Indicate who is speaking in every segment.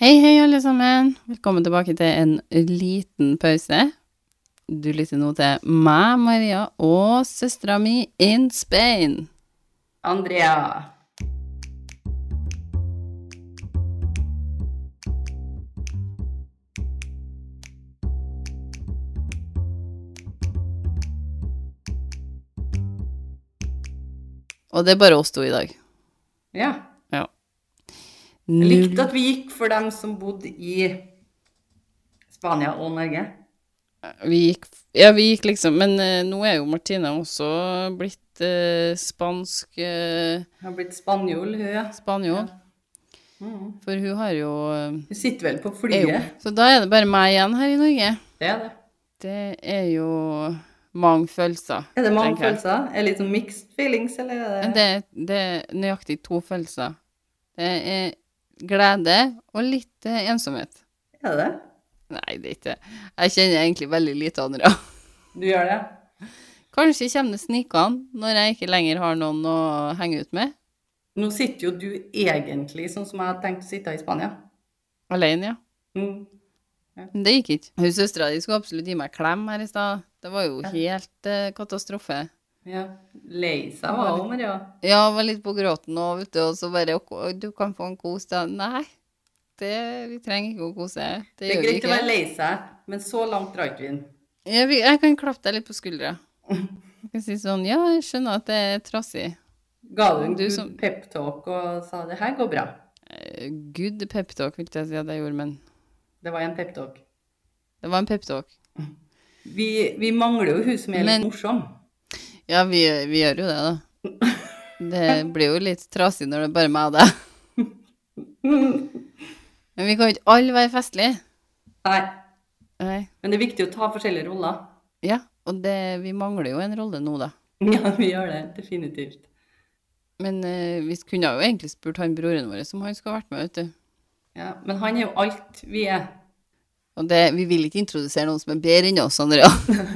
Speaker 1: Hei, hei, alle sammen. Velkommen tilbake til en liten pause. Du lytter nå til meg, Maria, og søstera mi in Spain.
Speaker 2: Andrea.
Speaker 1: Og det er bare oss to i dag.
Speaker 2: Ja. Jeg
Speaker 1: Null
Speaker 2: likte at vi gikk for dem som bodde i Spania og Norge.
Speaker 1: Vi gikk Ja, vi gikk liksom Men eh, nå er jo Martine også blitt eh, spansk eh,
Speaker 2: Hun har blitt spanjol, hun, ja.
Speaker 1: spanjol.
Speaker 2: Mm.
Speaker 1: For hun har jo eh,
Speaker 2: Hun sitter vel på
Speaker 1: er jo.
Speaker 2: flyet.
Speaker 1: Så da er det bare meg igjen her i Norge.
Speaker 2: Det er det.
Speaker 1: Det er jo mange følelser.
Speaker 2: Er det mange
Speaker 1: tenker jeg.
Speaker 2: følelser? Er det litt sånn mixed feelings, eller er
Speaker 1: Men
Speaker 2: det
Speaker 1: det, det er nøyaktig to følelser. Det er glede og litt eh, ensomhet.
Speaker 2: Er det?
Speaker 1: Nei, det er ikke Jeg kjenner egentlig veldig lite andre.
Speaker 2: Du gjør det?
Speaker 1: Kanskje kommer det snikende når jeg ikke lenger har noen å henge ut med.
Speaker 2: Nå sitter jo du egentlig sånn som jeg hadde tenkt å sitte i Spania.
Speaker 1: Alene, ja.
Speaker 2: Mm.
Speaker 1: Men det gikk ikke. Hun søstera di skulle absolutt gi meg klem her i stad. Det var jo
Speaker 2: Ja.
Speaker 1: helt eh, katastrofe.
Speaker 2: Ja. Lei seg var hun, Maria.
Speaker 1: Ja, jeg var litt på gråten nå, vet du, og så bare «Å, Du kan få en kos, da. Nei, det, vi trenger ikke å kose. Det
Speaker 2: Det er
Speaker 1: gjør vi
Speaker 2: greit å
Speaker 1: ikke.
Speaker 2: være lei seg, men så langt drar ikke vi den.
Speaker 1: Jeg, vil- jeg kan klappe deg litt på skuldra. Jeg kan si sånn Ja, jeg skjønner at det er trassig.
Speaker 2: Ga du en
Speaker 1: Du
Speaker 2: god
Speaker 1: som-
Speaker 2: pep-talk og sa 'det her går bra'?
Speaker 1: Eh, Good peptalk, vil jeg si at jeg gjorde, men
Speaker 2: Det var en pep-talk.
Speaker 1: det var en peptalk.
Speaker 2: Vi, vi mangler jo hun som er litt
Speaker 1: Men-
Speaker 2: morsom.
Speaker 1: Ja, vi, vi gjør jo det, da. Det blir jo litt trassig når det er bare meg og deg. Men vi kan jo ikke alle være festlige.
Speaker 2: Nei,
Speaker 1: Nei.
Speaker 2: men det er viktig å ta forskjellige roller.
Speaker 1: Ja, og det, vi mangler jo en rolle nå, da.
Speaker 2: Ja, vi gjør det. Definitivt.
Speaker 1: Men eh, vi kunne jo egentlig spurt han broren vår om han skulle ha vært med, vet du.
Speaker 2: Ja, men han er jo alt vi er.
Speaker 1: Og det, vi vil ikke introdusere noen som er bedre enn oss, Andrea.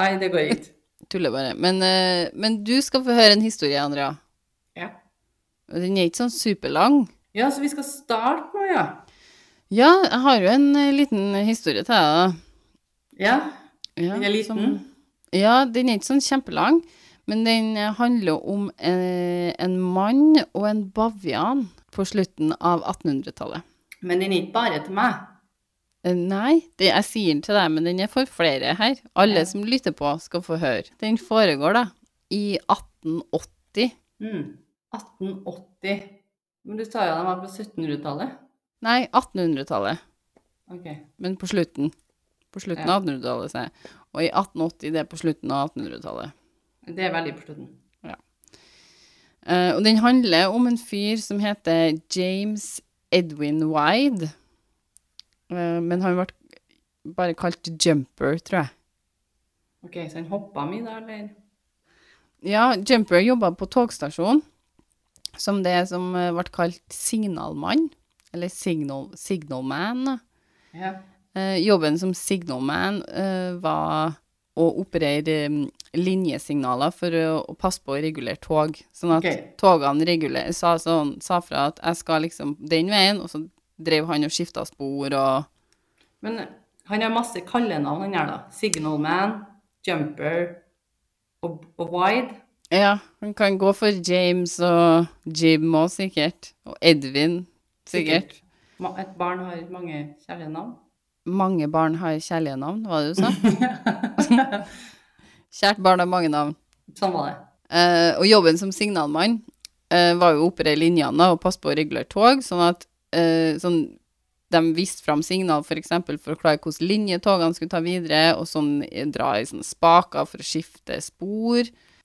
Speaker 2: Nei, det går ikke.
Speaker 1: Tuller bare. Men, eh, men du skal få høre en historie, Andrea.
Speaker 2: Ja.
Speaker 1: Og Den er ikke sånn superlang.
Speaker 2: ja, så vi skal starte nå, ja.
Speaker 1: Ja, jeg har jo en eh, liten historie til deg.
Speaker 2: Ja,
Speaker 1: da. Ja,
Speaker 2: den er liten.
Speaker 1: Som, ja, den er ikke sånn kjempelang, men den eh, handler om eh, en mann og en bavian på slutten av 1800-tallet.
Speaker 2: Men den er ikke bare til meg.
Speaker 1: Eh, Nei, det jeg sier den til deg, men den er for flere her. Alle
Speaker 2: Ja.
Speaker 1: som lytter på, skal få høre. Den foregår da i 1880.
Speaker 2: Mm. 1880. Men du sa jo den var på 1700-tallet.
Speaker 1: Nei, 1800-tallet.
Speaker 2: Ok.
Speaker 1: men på slutten. På slutten
Speaker 2: Ja.
Speaker 1: av 1800-tallet, sier jeg. Og i 1880, det er på slutten av 1800-tallet.
Speaker 2: Det er veldig på slutten.
Speaker 1: Eh, og den handler om en fyr som heter James Edwin Wide. Eh, men han ble bare kalt Jumper, tror jeg.
Speaker 2: Ok, så han hoppa mye da, eller?
Speaker 1: Ja, Jumper jobba på togstasjonen, som det som eh, ble kalt signalmann. Eller signal, signalman, da.
Speaker 2: Ja.
Speaker 1: Eh, jobben som signalman eh, var å operere eh, linjesignaler for å, å passe på å regulere tog. Sånn at
Speaker 2: Ok.
Speaker 1: togene reguler, sa, sånn, sa fra at jeg skal liksom den veien, og så drev han og skifta spor og
Speaker 2: Men han har masse kallenavn, han her, da. Signalman, Jumper og, og Wide.
Speaker 1: Ja, han kan gå for James og Jim òg, sikkert. Og Edvin, sikkert.
Speaker 2: Ma- Et barn har mange kjære navn.
Speaker 1: Mange barn har kjærlige navn, var det du sa? Kjært barn har mange navn.
Speaker 2: Sånn var det.
Speaker 1: Eh, og jobben som signalmann eh, var jo å operere linjene da, og passe på å regulere tog, sånn at eh, sånn, de viste fram signal for eksempel for å klare hvilken linje togene skulle ta videre, og sånn eh, dra i sånne spaker for å skifte spor.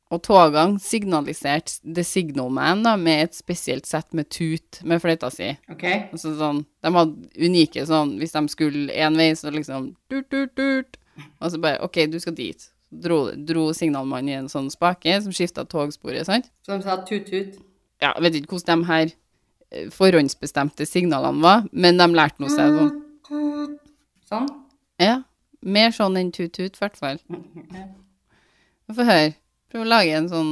Speaker 1: Og togene signaliserte The Signalman da, med et spesielt sett med tut med fløyta si.
Speaker 2: OK?
Speaker 1: Altså sånn, de hadde unike sånn, hvis de skulle en vei, så liksom tut, tut, tut. Og så bare, ok, du skal dit. Dro, dro signalmannen i en sånn spake som skiftet togsporet, sant?
Speaker 2: Så de sa tut-tut.
Speaker 1: Ja, jeg vet ikke hvordan de her eh, forhåndsbestemte signalene var, men de lærte noe seg sånn.
Speaker 2: Sånn.
Speaker 1: Ja, mer sånn enn tut-tut, hvertfall.
Speaker 2: Ja.
Speaker 1: Få høre. Prøv å lage en sånn,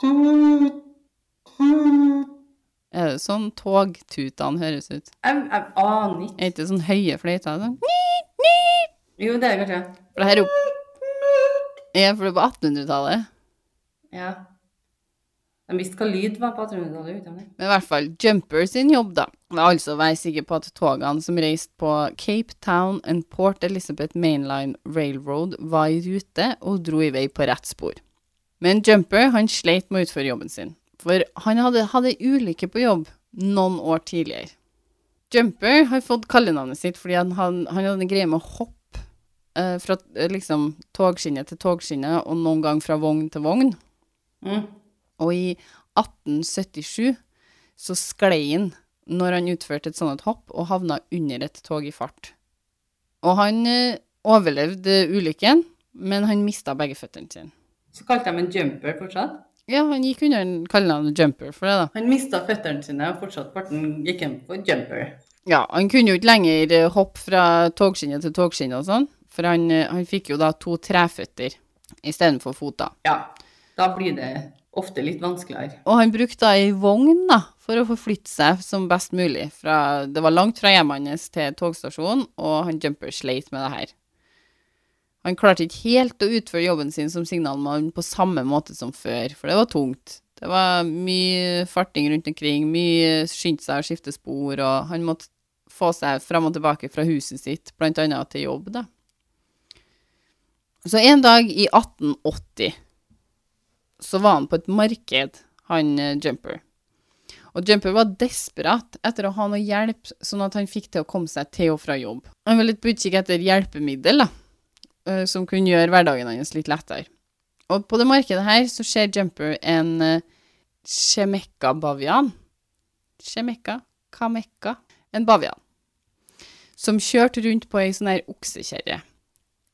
Speaker 2: Tut, tut.
Speaker 1: Er det sånn togtutene høres ut?
Speaker 2: Jeg, jeg aner ikke.
Speaker 1: Er det ikke sånn høye fløyter? Sånn?
Speaker 2: Jo, det er kanskje
Speaker 1: For det her er jo Ja, for det er på 1800-tallet.
Speaker 2: Ja. De visste hva lyd var på 1800-tallet. gjorde de det?
Speaker 1: Men i hvert fall Jumper sin jobb, da, var altså å være sikker på at togene som reiste på Cape Town and Port Elizabeth Mainline Railroad, var i rute og dro i vei på rett spor. Men Jumper han sleit med å utføre jobben sin, for han hadde hatt ei ulykke på jobb noen år tidligere. Jumper har fått kallenavnet sitt fordi han, han, han hadde en greie med å hoppe eh, fra eh, liksom, togskinne til togskinne, og noen gang fra vogn til vogn.
Speaker 2: Mm.
Speaker 1: Og i 1877 så sklei han når han utførte et sånt hopp og havna under et tog i fart. Og han eh, overlevde ulykken, men han mista begge føttene sine.
Speaker 2: Så kalte de en jumper fortsatt.
Speaker 1: Ja, han gikk under en- kallenavnet Jumper for det, da.
Speaker 2: Han mista føttene sine, og fortsatt parten gikk han for jumper.
Speaker 1: Ja, han kunne jo ikke lenger eh, hoppe fra togskinne til togskinne og sånn, for han, eh, han fikk jo da to treføtter istedenfor fot, da.
Speaker 2: Ja. Da blir det ofte litt vanskeligere.
Speaker 1: Og han brukte da ei vogn da, for å forflytte seg som best mulig. Fra, det var langt fra hjemmet hans til togstasjonen, og han jumper sleit med det her. Han klarte ikke helt å utføre jobben sin som signalmann på samme måte som før, for det var tungt. Det var mye farting rundt omkring, mye skyndte seg å skifte spor, og han måtte få seg fram og tilbake fra huset sitt, blant annet til jobb, da. Så en dag i 1880 så var han på et marked, han eh, Jumper. Og Jumper var desperat etter å ha noe hjelp, sånn at han fikk til å komme seg til og fra jobb. Han var litt på utkikk etter hjelpemiddel, da, eh, som kunne gjøre hverdagen hans litt lettere. Og på det markedet her så ser Jumper en eh, Chemekka-bavian. Chemekka? Kamekka? En bavian. Som kjørte rundt på ei sånn her oksekjerre.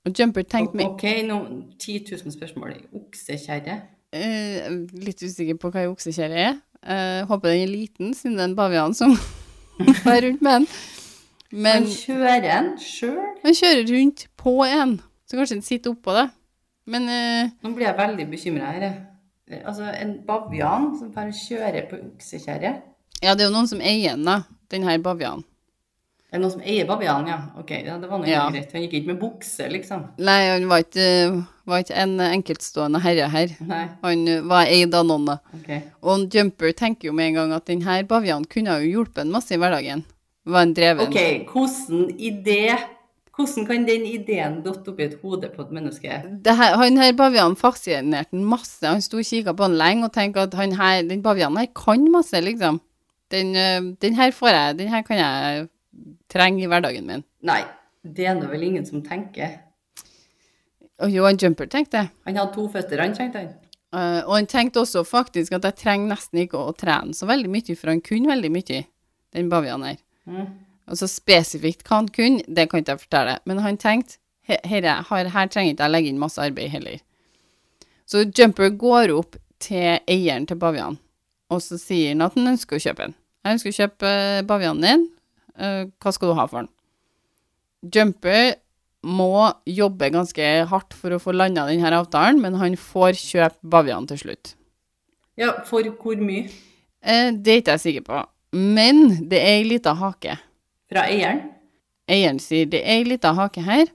Speaker 1: Og Jumper tenkte med
Speaker 2: OK, nå 10 000 spørsmål. Oksekjerre?
Speaker 1: Eh, litt usikker på hva ei oksekjerre er. Eh, håper den er liten, siden det er en bavian som er rundt med den. Men
Speaker 2: Han kjører en sjøl?
Speaker 1: han kjører rundt på en, så kanskje den sitter oppå det. Men eh,
Speaker 2: Nå blir jeg veldig bekymra her. jeg. Altså, en bavian som bare kjører på oksekjerre?
Speaker 1: ja, det er jo noen som eier den, da. Den her bavianen.
Speaker 2: Er det noen som eier bavianen, ja? OK, ja, det var nå
Speaker 1: Ja.
Speaker 2: greit. Han gikk ikke med bukse, liksom.
Speaker 1: Nei, han var ikke, eh, var ikke en enkeltstående herre her.
Speaker 2: Nei.
Speaker 1: Han eh, var eid av noen. da.
Speaker 2: OK.
Speaker 1: Og Jumper tenker jo med en gang at den her bavianen kunne jo hjulpet en masse i hverdagen. Var en dreven.
Speaker 2: Ok, hvordan idé Hvordan kan den ideen dotte opp i et hode på et menneske?
Speaker 1: det her, han her bavianen fascinerte han masse. Han sto og kikka på han lenge og tenkte at han her, den bavianen her kan masse, liksom. Den, ø, den her får jeg, den her kan jeg trenge i hverdagen min.
Speaker 2: Nei, det er det vel ingen som tenker.
Speaker 1: Og jo, han Jumper tenkte det.
Speaker 2: Han hadde to føtter, han tenkte han.
Speaker 1: Eh, og han tenkte også faktisk at jeg trenger nesten ikke å, å trene så veldig mye, for han kunne veldig mye, den bavianen her.
Speaker 2: Mm.
Speaker 1: Altså spesifikt hva han kunne, det kan ikke jeg fortelle. Men han tenkte he- herre, her, her trenger ikke jeg legge inn masse arbeid heller. Så Jumper går opp til eieren til bavianen, og så sier han at han ønsker å kjøpe den. Jeg ønsker å kjøpe eh, bavianen din. Eh, Hva skal du ha for den? Jumper må jobbe ganske hardt for å få landa denne avtalen, men han får kjøpe bavianen til slutt.
Speaker 2: Ja, for hvor mye?
Speaker 1: Eh, Det er ikke jeg sikker på, men det er ei lita hake.
Speaker 2: Fra eieren?
Speaker 1: Eieren sier det er ei lita hake her.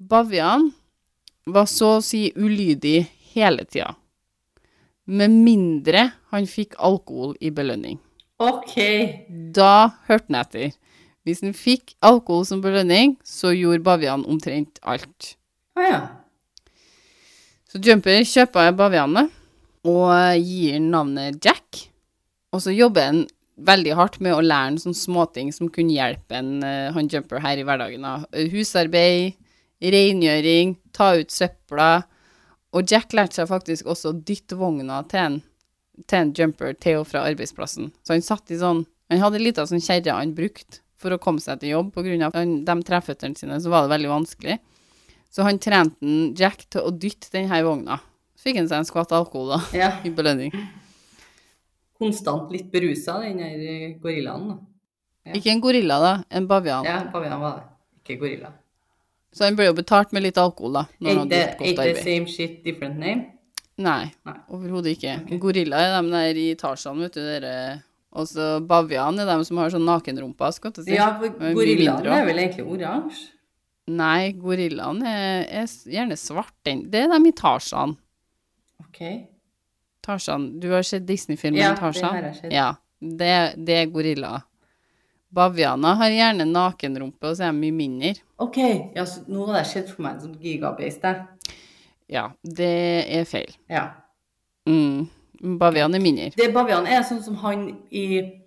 Speaker 1: Bavian var så å si ulydig hele tida. Med mindre han fikk alkohol i belønning.
Speaker 2: OK.
Speaker 1: Da hørte han etter. Hvis han fikk alkohol som belønning, så gjorde bavian omtrent alt.
Speaker 2: Å ja.
Speaker 1: Så Jumper kjøper bavianet og gir han navnet Jack. Og så jobber han veldig hardt med å lære han sånne småting som kunne hjelpe han, eh, han Jumper her i hverdagen. da. Husarbeid, rengjøring, ta ut søpla. Og Jack lærte seg faktisk også å dytte vogna til en, til en Jumper til og fra arbeidsplassen. Så han satt i sånn Han hadde ei lita sånn kjerre han brukte for å komme seg til jobb. På grunn av han- de treføttene sine så var det veldig vanskelig. Så han trente en Jack til å dytte denne vogna. Så fikk han seg en skvatt alkohol da,
Speaker 2: ja.
Speaker 1: i belønning.
Speaker 2: Konstant litt berusa, den her gorillaen. da. Ja.
Speaker 1: Ikke en gorilla, da, en bavian.
Speaker 2: Ja, bavian var det. Ikke gorilla.
Speaker 1: Så han ble jo betalt med litt alkohol, da. Når han
Speaker 2: Ain't
Speaker 1: hadde
Speaker 2: the,
Speaker 1: gjort
Speaker 2: ain't
Speaker 1: godt
Speaker 2: the
Speaker 1: arbeid.
Speaker 2: same shit, different name?
Speaker 1: Nei,
Speaker 2: Nei.
Speaker 1: overhodet ikke. Gorilla er de der i Tarzan, vet du, dere Og så bavian er de som har sånn nakenrumpa, skal jeg til å si.
Speaker 2: Ja, for
Speaker 1: mye
Speaker 2: gorillaen
Speaker 1: mindre også.
Speaker 2: er vel egentlig oransje?
Speaker 1: Nei, gorillaen er, er s- gjerne svart. den. Det er de i Tarzan.
Speaker 2: OK.
Speaker 1: Tarzan. Du har sett Disney-filmen
Speaker 2: Ja, det
Speaker 1: Tarzan?
Speaker 2: har jeg sett.
Speaker 1: Ja, det, det er gorillaer. Bavianer har gjerne nakenrumpe, og så er de mye mindre.
Speaker 2: OK. Ja, så nå hadde jeg sett for meg en sånn gigabeist, jeg.
Speaker 1: Ja, det er feil.
Speaker 2: Ja.
Speaker 1: Mm. Bavian er mindre.
Speaker 2: Det bavian er sånn som han i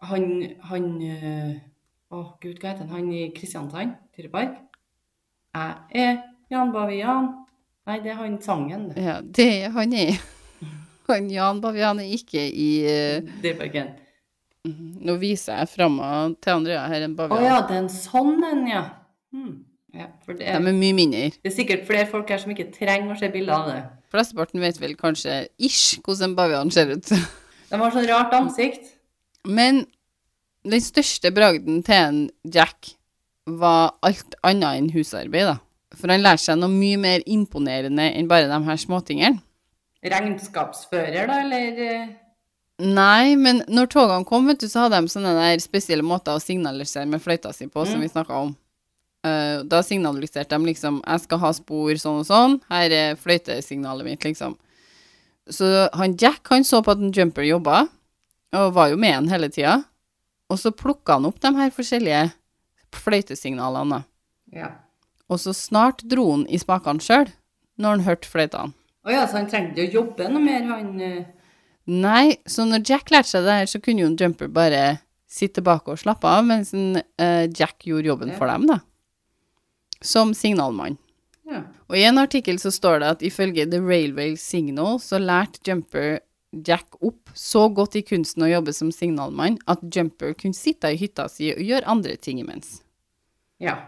Speaker 2: Han Han øh, Å, gud, hva heter han? Han i Kristiansand dyrepark? Jeg er Jan Bavian. Nei, det er han sangen, det.
Speaker 1: Ja, det er han er. Han Jan Bavian er ikke i eh,
Speaker 2: Dyreparken.
Speaker 1: Nå viser jeg framme til Andrea her en
Speaker 2: Å
Speaker 1: bavian.
Speaker 2: ja, det er en sånn en, ja. Hmm. ja for det,
Speaker 1: De
Speaker 2: er,
Speaker 1: er mye mindre.
Speaker 2: det er sikkert flere folk her som ikke trenger å se bilder av det.
Speaker 1: Flesteparten vet vel kanskje ish hvordan en bavian ser ut.
Speaker 2: De har sånn rart ansikt.
Speaker 1: Men den største bragden til en Jack var alt annet enn husarbeid, da. For han lærte seg noe mye mer imponerende enn bare de her småtingene.
Speaker 2: Regnskapsfører, da, eller eh,
Speaker 1: Nei, men når togene kom, vet du, så hadde de sånne der spesielle måter å signalisere med fløyta si på, som
Speaker 2: Mm.
Speaker 1: vi snakka om. Eh, da signaliserte de liksom 'Jeg skal ha spor sånn og sånn'. Her er fløytesignalet mitt, liksom. Så han Jack han så på at en jumper jobba, og var jo med han hele tida. Og så plukka han opp de her forskjellige fløytesignalene. da.
Speaker 2: Ja.
Speaker 1: Og så snart dro han i spakene sjøl, når han hørte fløytene.
Speaker 2: Å ja, så han trengte ikke å jobbe noe mer, han eh,
Speaker 1: Nei, så når Jack lærte seg det her, så kunne jo en jumper bare sitte tilbake og slappe av, mens en, eh, Jack gjorde jobben for dem, da. Som signalmann.
Speaker 2: Ja.
Speaker 1: Og i en artikkel så står det at ifølge The Railway Signal så lærte jumper Jack opp så godt i kunsten å jobbe som signalmann at jumper kunne sitte i hytta si og gjøre andre ting imens.
Speaker 2: ja.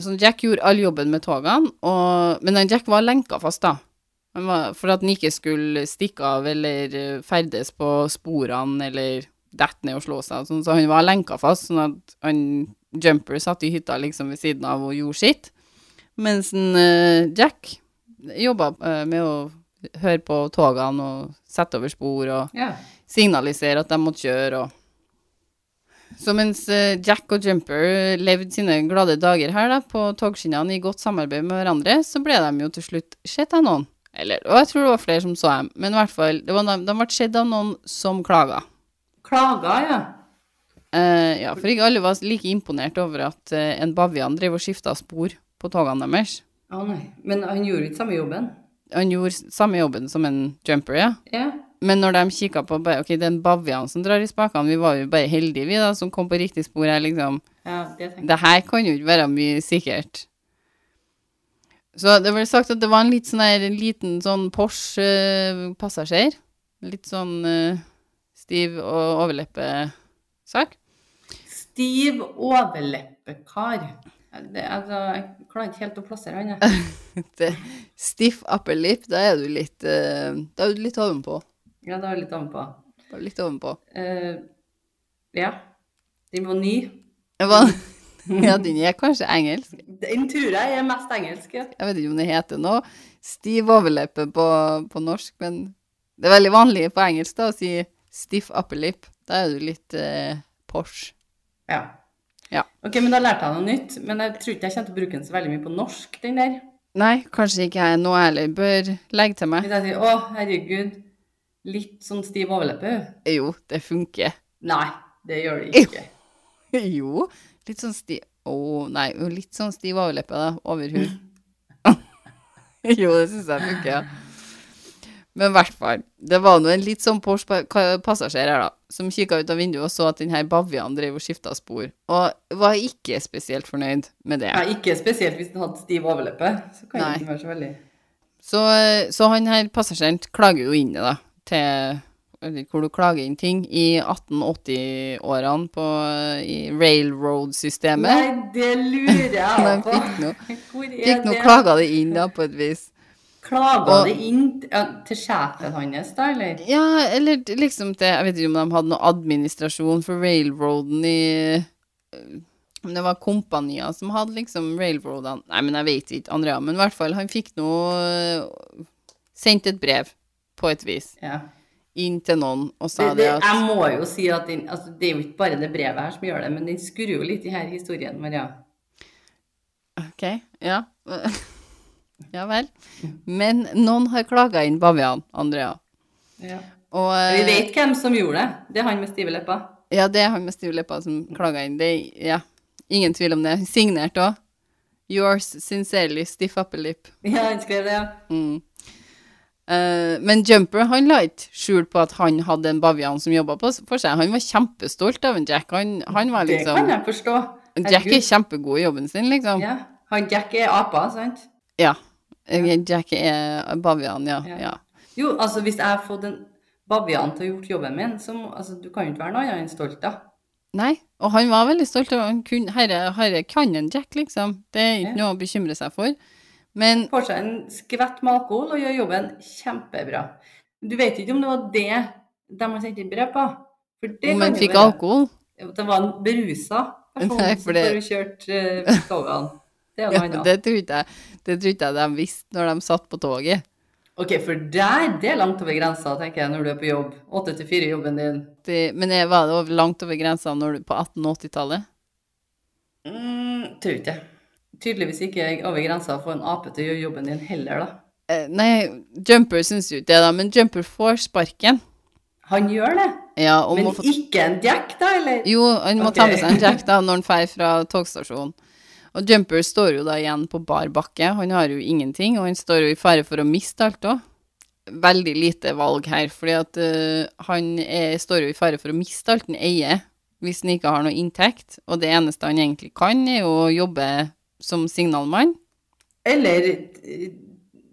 Speaker 1: Så Jack gjorde all jobben med togene, og, men han Jack var lenka fast, da. Han var, for at han ikke skulle stikke av eller eh, ferdes på sporene eller dette ned og slå seg. og Sånn, så han var lenka fast, sånn at han Jumper satt i hytta liksom ved siden av og gjorde sitt. Mens han, eh, Jack jobba eh, med å høre på togene og sette over spor og
Speaker 2: ja.
Speaker 1: signalisere at de måtte kjøre og Så mens eh, Jack og Jumper levde sine glade dager her da, på togskinnene i godt samarbeid med hverandre, så ble de jo til slutt sett av noen. Eller, og jeg tror det var flere som så dem, men i hvert fall, det var, de, de ble sett av noen som klaga.
Speaker 2: Klager, ja.
Speaker 1: Eh, ja, for ikke alle var like imponert over at eh, en bavian drev og skifta spor på togene deres.
Speaker 2: Å nei. Men han gjorde ikke samme jobben.
Speaker 1: Han gjorde samme jobben som en jumper, ja.
Speaker 2: Ja.
Speaker 1: Men når de kikka på bare, Ok, det er en bavian som drar i spakene, vi var jo bare heldige, vi, da, som kom på riktig spor her, liksom.
Speaker 2: ja det tenkte jeg.
Speaker 1: Det her kan jo ikke være mye sikkert. Så det ble sagt at det var en, litt sånn her, en liten sånn Porsche-passasjer. Litt sånn eh, stiv og overleppesak.
Speaker 2: Stiv overleppekar. Ja, Det, altså, jeg klarer ikke helt å plassere han, jeg.
Speaker 1: Det- Stiff upper lip, da er du litt eh, Da er du litt ovenpå.
Speaker 2: Ja, det var jeg litt ovenpå.
Speaker 1: Da er du Litt ovenpå.
Speaker 2: Eh, ja. Den var ny.
Speaker 1: Det var- Ja, den er kanskje engelsk.
Speaker 2: Den tror jeg er mest engelsk. Ja.
Speaker 1: Jeg vet ikke om det heter noe stiv overleppe på, på norsk, men det er veldig vanlig på engelsk da, å si stiff upper lip. Da er du litt eh, Porsche.
Speaker 2: Ja.
Speaker 1: Ja.
Speaker 2: Ok, men da lærte jeg noe nytt. Men jeg tror ikke jeg kommer til å bruke den så veldig mye på norsk, den der.
Speaker 1: Nei, kanskje ikke jeg nå heller bør legge til meg.
Speaker 2: Hvis jeg sier 'Å, herregud, litt sånn stiv overleppe', hun.
Speaker 1: Jo, det funker.
Speaker 2: Nei, det gjør det ikke.
Speaker 1: Jo, litt sånn stiv Å, nei, jo, litt sånn stiv overleppe, da. Over hud. jo, det syns jeg funker, ja. Men i hvert fall. Det var nå en litt sånn Porsche-passasjer her, da, som kikka ut av vinduet og så at den her bavianen drev og skifta spor, og var ikke spesielt fornøyd med det.
Speaker 2: Ja, ikke spesielt hvis den hadde stiv overleppe. Så kan
Speaker 1: Nei.
Speaker 2: det ikke være så veldig
Speaker 1: Så, så han her passasjeren klager jo inn det, da, til eller hvor du klager inn ting, i 1880-årene på i railroad-systemet.
Speaker 2: Nei, det lurer jeg
Speaker 1: De
Speaker 2: på.
Speaker 1: fikk noe-
Speaker 2: Hvor er
Speaker 1: Fikk nå
Speaker 2: det?
Speaker 1: klaga det inn, da, på et vis.
Speaker 2: Klaga
Speaker 1: Og-
Speaker 2: det inn t- ja, til sjefen hans, da, eller?
Speaker 1: Ja, eller d- liksom til Jeg vet ikke om de hadde noe administrasjon for railroaden i eh, Om det var kompanier som hadde liksom railroadene Nei, men jeg vet ikke, Andrea. Men i hvert fall, han fikk nå eh, sendt et brev, på et vis,
Speaker 2: Ja.
Speaker 1: inn til noen og sa
Speaker 2: Det, det,
Speaker 1: det at
Speaker 2: jeg må jo si at den, altså, det er jo ikke bare det brevet her som gjør det, men den skurrer jo litt i her historien, Maria.
Speaker 1: Ok, ja. ja vel. Men noen har klaga inn bavian, Andrea.
Speaker 2: Ja.
Speaker 1: Og
Speaker 2: Vi
Speaker 1: eh,
Speaker 2: vet hvem som gjorde det. Det er han med stive lepper.
Speaker 1: ja, det er han med stive lepper som klaga inn. Det, er- ja. Ingen tvil om det. Signert òg. Yours sincerely, stiff upper lip.
Speaker 2: Ja, han skrev det, ja.
Speaker 1: Mm. Eh, men Jumper han la ikke skjul på at han hadde en bavian som jobba for seg. Han var kjempestolt av en Jack. Han, han var
Speaker 2: Det kan
Speaker 1: liksom
Speaker 2: jeg forstå.
Speaker 1: Jack er
Speaker 2: Herregud.
Speaker 1: kjempegod i jobben sin, liksom.
Speaker 2: Ja. Han Jack er apa, sant?
Speaker 1: Ja. Eh, Jack er bavian, ja.
Speaker 2: Ja.
Speaker 1: ja.
Speaker 2: Jo, altså hvis jeg har fått en bavian til å ha gjort jobben min, så må, altså, du kan jo ikke være noe annet enn stolt, da.
Speaker 1: Nei, og han var veldig stolt av han kunne, herre, herre kan en Jack, liksom. Det er ikke
Speaker 2: Ja.
Speaker 1: noe å bekymre seg for. Men
Speaker 2: Får seg en skvett med alkohol og gjør jobben kjempebra. Du vet ikke om det var det de har sendt inn brev på? For
Speaker 1: om
Speaker 2: det kan
Speaker 1: han
Speaker 2: jo
Speaker 1: fikk
Speaker 2: være-
Speaker 1: alkohol
Speaker 2: Det var en berusa person
Speaker 1: Nei, for
Speaker 2: som
Speaker 1: det-
Speaker 2: får kjørt eh, togene. Det er jo
Speaker 1: ja,
Speaker 2: noe annet.
Speaker 1: Det tror ikke jeg Det tror ikke jeg de visste når de satt på toget.
Speaker 2: Ok, for der, det er langt over grensa, tenker jeg, når du er på jobb. 8 til 4 jobben din.
Speaker 1: Det, men jeg var det over- langt over grensa når du, på 1880-tallet?
Speaker 2: Mm, tror ikke. Tydeligvis ikke over grensa for en ape til å gjøre jobben din heller, da.
Speaker 1: Eh, nei, Jumper syns jo ikke det, da, men Jumper får sparken.
Speaker 2: Han gjør det,
Speaker 1: Ja, og
Speaker 2: men
Speaker 1: må få
Speaker 2: ikke en Jack, da, eller?
Speaker 1: Jo, han må ta med
Speaker 2: Ok.
Speaker 1: seg en Jack da når han drar fra togstasjonen. Og Jumper står jo da igjen på bar bakke. Han har jo ingenting, og han står jo i fare for å miste alt òg. Veldig lite valg her, fordi at eh, han er, står jo i fare for å miste alt han eier hvis han ikke har noe inntekt, og det eneste han egentlig kan, er jo å jobbe som signalmann.
Speaker 2: Eller eh,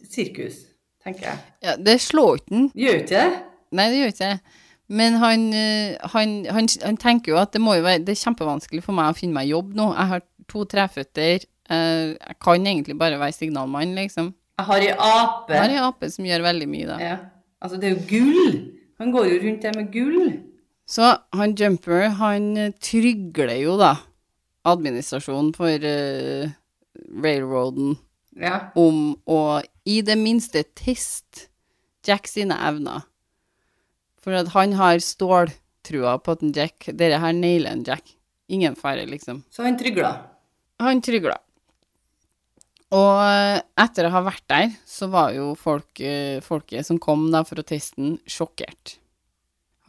Speaker 2: sirkus, tenker jeg.
Speaker 1: Ja, det slår ikke han.
Speaker 2: Gjør ikke det?
Speaker 1: Nei, det gjør ikke det. Men han, eh, han, han, han tenker jo at det, må jo være, det er kjempevanskelig for meg å finne meg jobb nå. Jeg har to treføtter. eh, Jeg kan egentlig bare være signalmann, liksom.
Speaker 2: Jeg har ei ape.
Speaker 1: Jeg har en ape som gjør veldig mye, da.
Speaker 2: Ja. Altså, det er jo gull. Han går jo rundt der med gull.
Speaker 1: Så han Jumper, han eh, trygler jo, da, administrasjonen for eh, railroaden
Speaker 2: Ja.
Speaker 1: om å i det minste teste Jack sine evner. For at han har ståltrua på at en Jack Dette her nailer en Jack. Ingen fare, liksom.
Speaker 2: Så han trygla.
Speaker 1: Han trygla. Og eh, etter å ha vært der, så var jo folk, eh, folket som kom da for å teste den, sjokkert.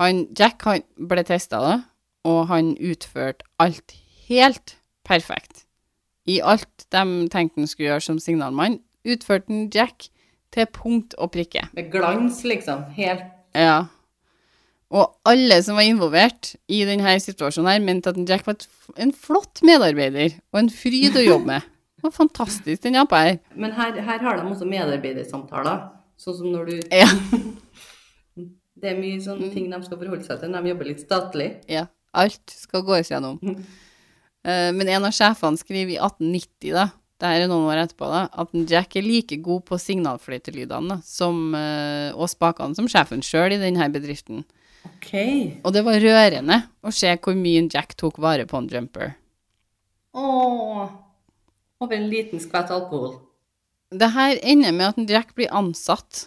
Speaker 1: Han, Jack han ble testa, da, og han utførte alt helt perfekt. I alt de tenkte han skulle gjøre som signalmann, utførte han Jack til punkt og prikke.
Speaker 2: Med glans, liksom. Helt
Speaker 1: Ja. Og alle som var involvert i denne situasjonen her, mente at en Jack var et f- en flott medarbeider og en fryd å jobbe med. Det var fantastisk, den apa her.
Speaker 2: Men her, her har de også medarbeidersamtaler. Sånn som når du
Speaker 1: Ja.
Speaker 2: Det er mye sånne ting de skal forholde seg til når de jobber litt statlig.
Speaker 1: ja. Alt skal gås gjennom. Eh, Men en av sjefene skriver i 1890, da, det her er noen år etterpå, da, at en Jack er like god på signalfløytelydene da, som, eh, og spakene som sjefen sjøl i denne bedriften.
Speaker 2: OK.
Speaker 1: Og det var rørende å se hvor mye en Jack tok vare på en jumper.
Speaker 2: Åh. Over en liten skvett alkohol.
Speaker 1: Det her ender med at en Jack blir ansatt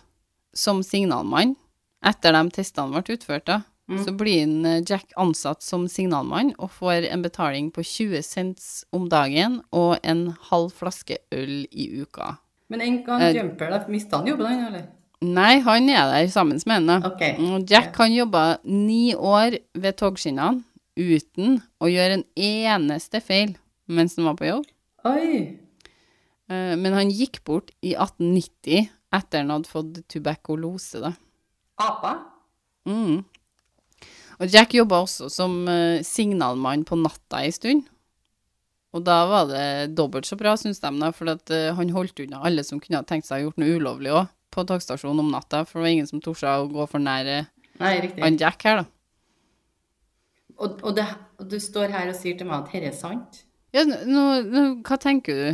Speaker 1: som signalmann. Etter de testene ble utført, da, så blir en eh, Jack ansatt som signalmann og får en betaling på 20 cents om dagen og en halv flaske øl i uka.
Speaker 2: Men en gang
Speaker 1: Eh.
Speaker 2: jumper, da mista han jobben, han, eller?
Speaker 1: Nei, han er der sammen med henne.
Speaker 2: OK.
Speaker 1: Og Jack han jobba ni år ved togskinnene uten å gjøre en eneste feil mens han var på jobb.
Speaker 2: Oi.
Speaker 1: Eh, Men han gikk bort i 1890 etter han hadde fått tuberkulose, da.
Speaker 2: Apa?
Speaker 1: Mm. Og Jack jobba også som eh, signalmann på natta en stund. Og da var det dobbelt så bra, syns de, da, for at, eh, han holdt unna alle som kunne ha tenkt seg å ha gjort noe ulovlig òg, på togstasjonen om natta, for det var ingen som torde å gå for nær eh,
Speaker 2: Nei, riktig.
Speaker 1: han Jack her, da.
Speaker 2: Og, og, det, og du står her og sier til meg at dette er sant?
Speaker 1: Ja, nå, nå, hva tenker du?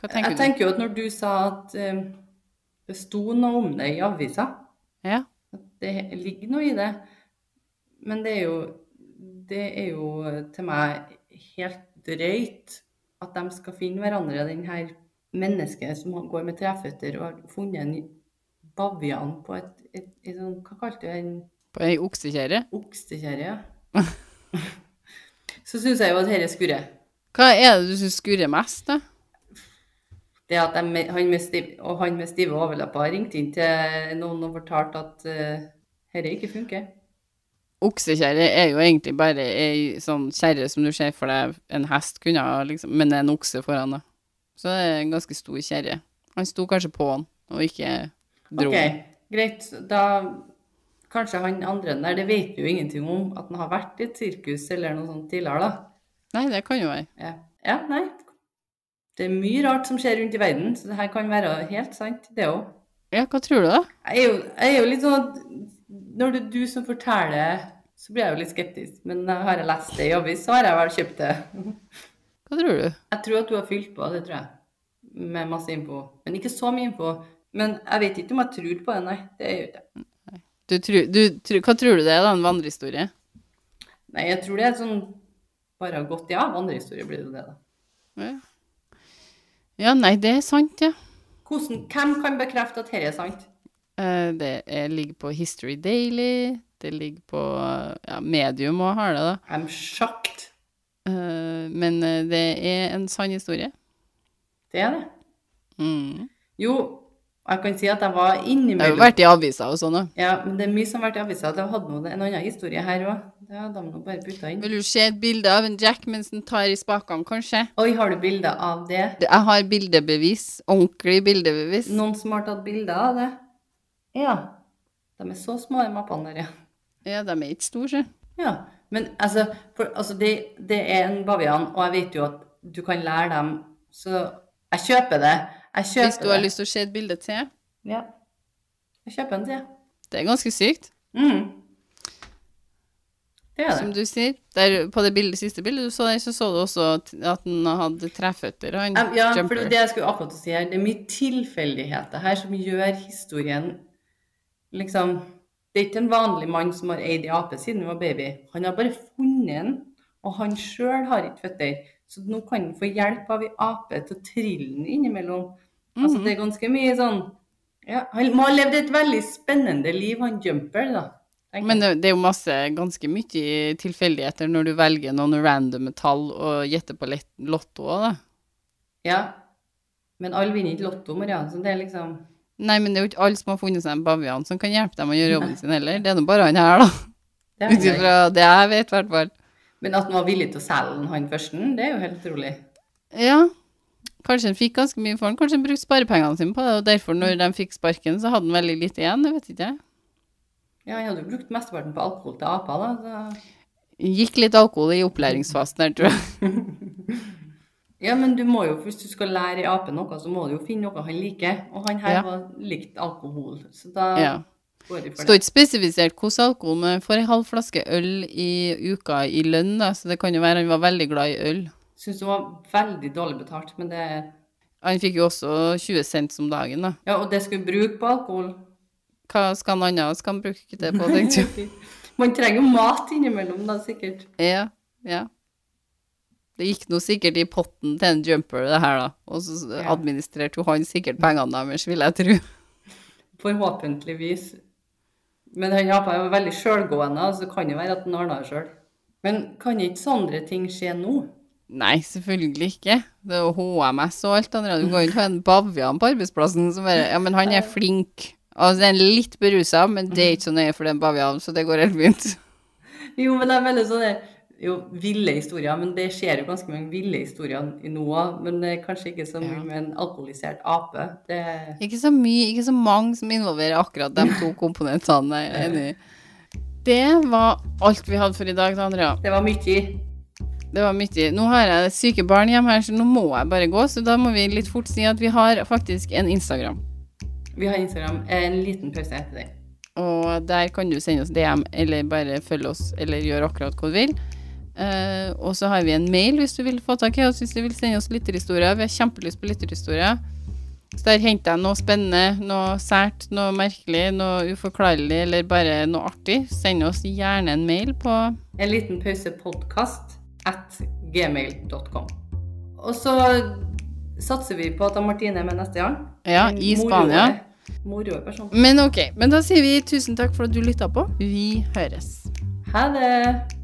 Speaker 1: Hva tenker
Speaker 2: jeg tenker jo at når du sa at eh, det sto noe om det i avisa
Speaker 1: du? Ja.
Speaker 2: Det ligger noe i det. Men det er jo, det er jo til meg helt drøyt at de skal finne hverandre, den her mennesket som går med treføtter og har funnet en bavian på et, et, et, sånn- Hva kalte du den?
Speaker 1: På ei oksekjerre.
Speaker 2: Oksekjerre, ja. Så syns jeg jo at dette skurrer.
Speaker 1: Hva er det du syns skurrer mest, da?
Speaker 2: Det at de, han med stiv, og han med stive overlepper har ringt inn til noen og fortalt at eh, dette ikke funker.
Speaker 1: Oksekjerre er jo egentlig bare ei sånn kjerre som du ser for deg en hest kunne ha, liksom, men det er en okse foran, da. Så det er en ganske stor kjerre. Han sto kanskje på den, og ikke dro
Speaker 2: Ok,
Speaker 1: den.
Speaker 2: greit. Da kanskje han andre der, det vet vi jo ingenting om, at han har vært i et sirkus eller noe sånt tidligere, da.
Speaker 1: Nei, det kan jo være.
Speaker 2: Ja, ja nei. Det er mye rart som skjer rundt i verden, så det her kan være helt sant, det òg.
Speaker 1: Ja, hva tror du, da?
Speaker 2: Jeg er jo, jeg er jo litt sånn at når det er du som forteller, så blir jeg jo litt skeptisk. Men har jeg lest det i avis, så har jeg vel kjøpt det.
Speaker 1: Hva tror du?
Speaker 2: Jeg tror at du har fylt på, det tror jeg. Med masse info. Men ikke så mye info. Men jeg vet ikke om jeg tror på det, nei. Det gjør jeg ikke.
Speaker 1: du, tror- du tror- hva tror du det er, da? En vandrehistorie?
Speaker 2: Nei, jeg tror det er sånn bare har gått ja. Vandrehistorie blir det jo det, da.
Speaker 1: Ja. ja, nei, det er sant, ja.
Speaker 2: Hvordan, hvem kan bekrefte at dette er sant?
Speaker 1: Eh, Det er, ligger på History Daily, det ligger på ja, Medium og har det, da.
Speaker 2: I'm shocked.
Speaker 1: Eh, Men eh, det er en sann historie.
Speaker 2: Det er det.
Speaker 1: Mm.
Speaker 2: Jo, jeg kan si at jeg var
Speaker 1: Det har jo
Speaker 2: innimellom
Speaker 1: vært i aviser og sånn òg.
Speaker 2: Ja, men det er mye som har vært i avisa. Det hadde nå en annen historie her òg. Det hadde de nå bare putta inn.
Speaker 1: Vil du se et bilde av en Jack mens han tar i spakene, kanskje?
Speaker 2: Oi, har du bilder av det?
Speaker 1: Jeg har bildebevis. Ordentlig bildebevis.
Speaker 2: Noen som har tatt bilder av det? Ja. De er så små, de mappene der, ja.
Speaker 1: Ja, de er ikke store, sjø.
Speaker 2: Ja, men altså, for, altså det, det er en bavian, og jeg vet jo at du kan lære dem, så jeg kjøper det. Jeg kjøper
Speaker 1: Hvis du har
Speaker 2: det.
Speaker 1: lyst til å se et bilde til.
Speaker 2: Ja. Jeg kjøper en til.
Speaker 1: Det er ganske sykt,
Speaker 2: Mm. Det er
Speaker 1: som
Speaker 2: det.
Speaker 1: du sier. Der, på det bildet, siste bildet du så der, så så du også at- at han hadde treføtter, han
Speaker 2: Em, Ja, for
Speaker 1: jumper.
Speaker 2: det er det jeg skulle akkurat si her, det er mye tilfeldigheter her som gjør historien liksom Det er ikke en vanlig mann som har eid ei ape siden han var baby. Han har bare funnet den, og han sjøl har ikke føtter. Så nå kan han få hjelp av ei ape til å trille den innimellom. Altså,
Speaker 1: Mm.
Speaker 2: det er ganske mye sånn ja, Han må ha levd et veldig spennende liv, han jumper, da. tenker
Speaker 1: Men
Speaker 2: jeg.
Speaker 1: det, det er jo masse, ganske mye tilfeldigheter når du velger noen random tall og gjetter på lett- lotto også, da.
Speaker 2: Ja. Men alle vinner ikke Lotto, Marianne, så det er liksom
Speaker 1: Nei, men det er jo ikke alle som har funnet seg en bavian som kan hjelpe dem å gjøre jobben sin heller. Det er nå bare han her, da.
Speaker 2: det er
Speaker 1: Ut
Speaker 2: det.
Speaker 1: ifra det jeg vet, i hvert fall.
Speaker 2: Men at han var villig til å selge den, han førsten, det er jo helt utrolig.
Speaker 1: Ja. Kanskje han fikk ganske mye for den. Kanskje han brukte sparepengene sine på det, og derfor, når de fikk sparken, så hadde han veldig lite igjen. Jeg vet ikke.
Speaker 2: Ja, jeg hadde jo brukt mesteparten på alkohol til aper, da. Så...
Speaker 1: Gikk litt alkohol i opplæringsfasen der, tror jeg.
Speaker 2: Ja, men du må jo, hvis du skal lære ei ape noe, så må du jo finne noe han liker. Og han her
Speaker 1: Ja.
Speaker 2: var likt alkohol, så da
Speaker 1: Ja.
Speaker 2: går vi for
Speaker 1: Står
Speaker 2: det.
Speaker 1: ikke spesifisert hvordan alkohol, men får ei halv flaske øl i uka i lønn, da, så det kan jo være han var veldig glad i øl.
Speaker 2: Syns det var veldig dårlig betalt, men det
Speaker 1: Han fikk jo også 20 cent om dagen, da.
Speaker 2: Ja, og det skulle bruke på alkohol.
Speaker 1: Hva skal han annet skal han bruke det på, tenkte jeg.
Speaker 2: Man trenger jo mat innimellom, da, sikkert.
Speaker 1: Ja, ja. Det gikk nå sikkert i potten til en jumper, det her, da. Og så
Speaker 2: Ja.
Speaker 1: administrerte jo han sikkert pengene deres, vil jeg tro.
Speaker 2: Forhåpentligvis. Men han apa er jo veldig sjølgående, så kan det være at han ordna det sjøl. Men kan ikke sånne ting skje nå?
Speaker 1: Nei, selvfølgelig ikke. Det er jo HMS og alt annet. Du kan jo ikke ha en bavian på arbeidsplassen som bare Ja, men han er flink. Altså, den er litt berusa, men det er ikke så nøye for den bavianen, så det går helt fint.
Speaker 2: Jo, men det er veldig sånn der- jo, ville historier, men det skjer jo ganske mange ville historier i nå òg. Men det er kanskje ikke så mye
Speaker 1: Ja.
Speaker 2: med en alkoholisert ape. Det,
Speaker 1: Ikke så mye, ikke så mange som involverer akkurat de to komponentene. Jeg er enig i. Det var alt vi hadde for i dag, Andrea.
Speaker 2: det var mye.
Speaker 1: Det var mye. Nå har jeg syke barn hjemme her, så nå må jeg bare gå. Så da må vi litt fort si at vi har faktisk en Instagram.
Speaker 2: Vi har Instagram. Eh, En liten pause etter den.
Speaker 1: Og der kan du sende oss DM, eller bare følge oss, eller gjøre akkurat hva du vil. Eh, og så har vi en mail hvis du vil få tak i oss, hvis du vil sende oss lytterhistorier. Vi har kjempelyst på lytterhistorier. Så der henter jeg noe spennende, noe sært, noe merkelig, noe uforklarlig, eller bare noe artig. Send oss gjerne en mail på
Speaker 2: En liten pause podkast at gmail.com. Og så satser vi på at Martine er med neste gang.
Speaker 1: Ja,
Speaker 2: En
Speaker 1: i
Speaker 2: moro
Speaker 1: Spania.
Speaker 2: er det. Moro person.
Speaker 1: Men ok, men da sier vi tusen takk for at du lytta på. Vi høres.
Speaker 2: Ha det!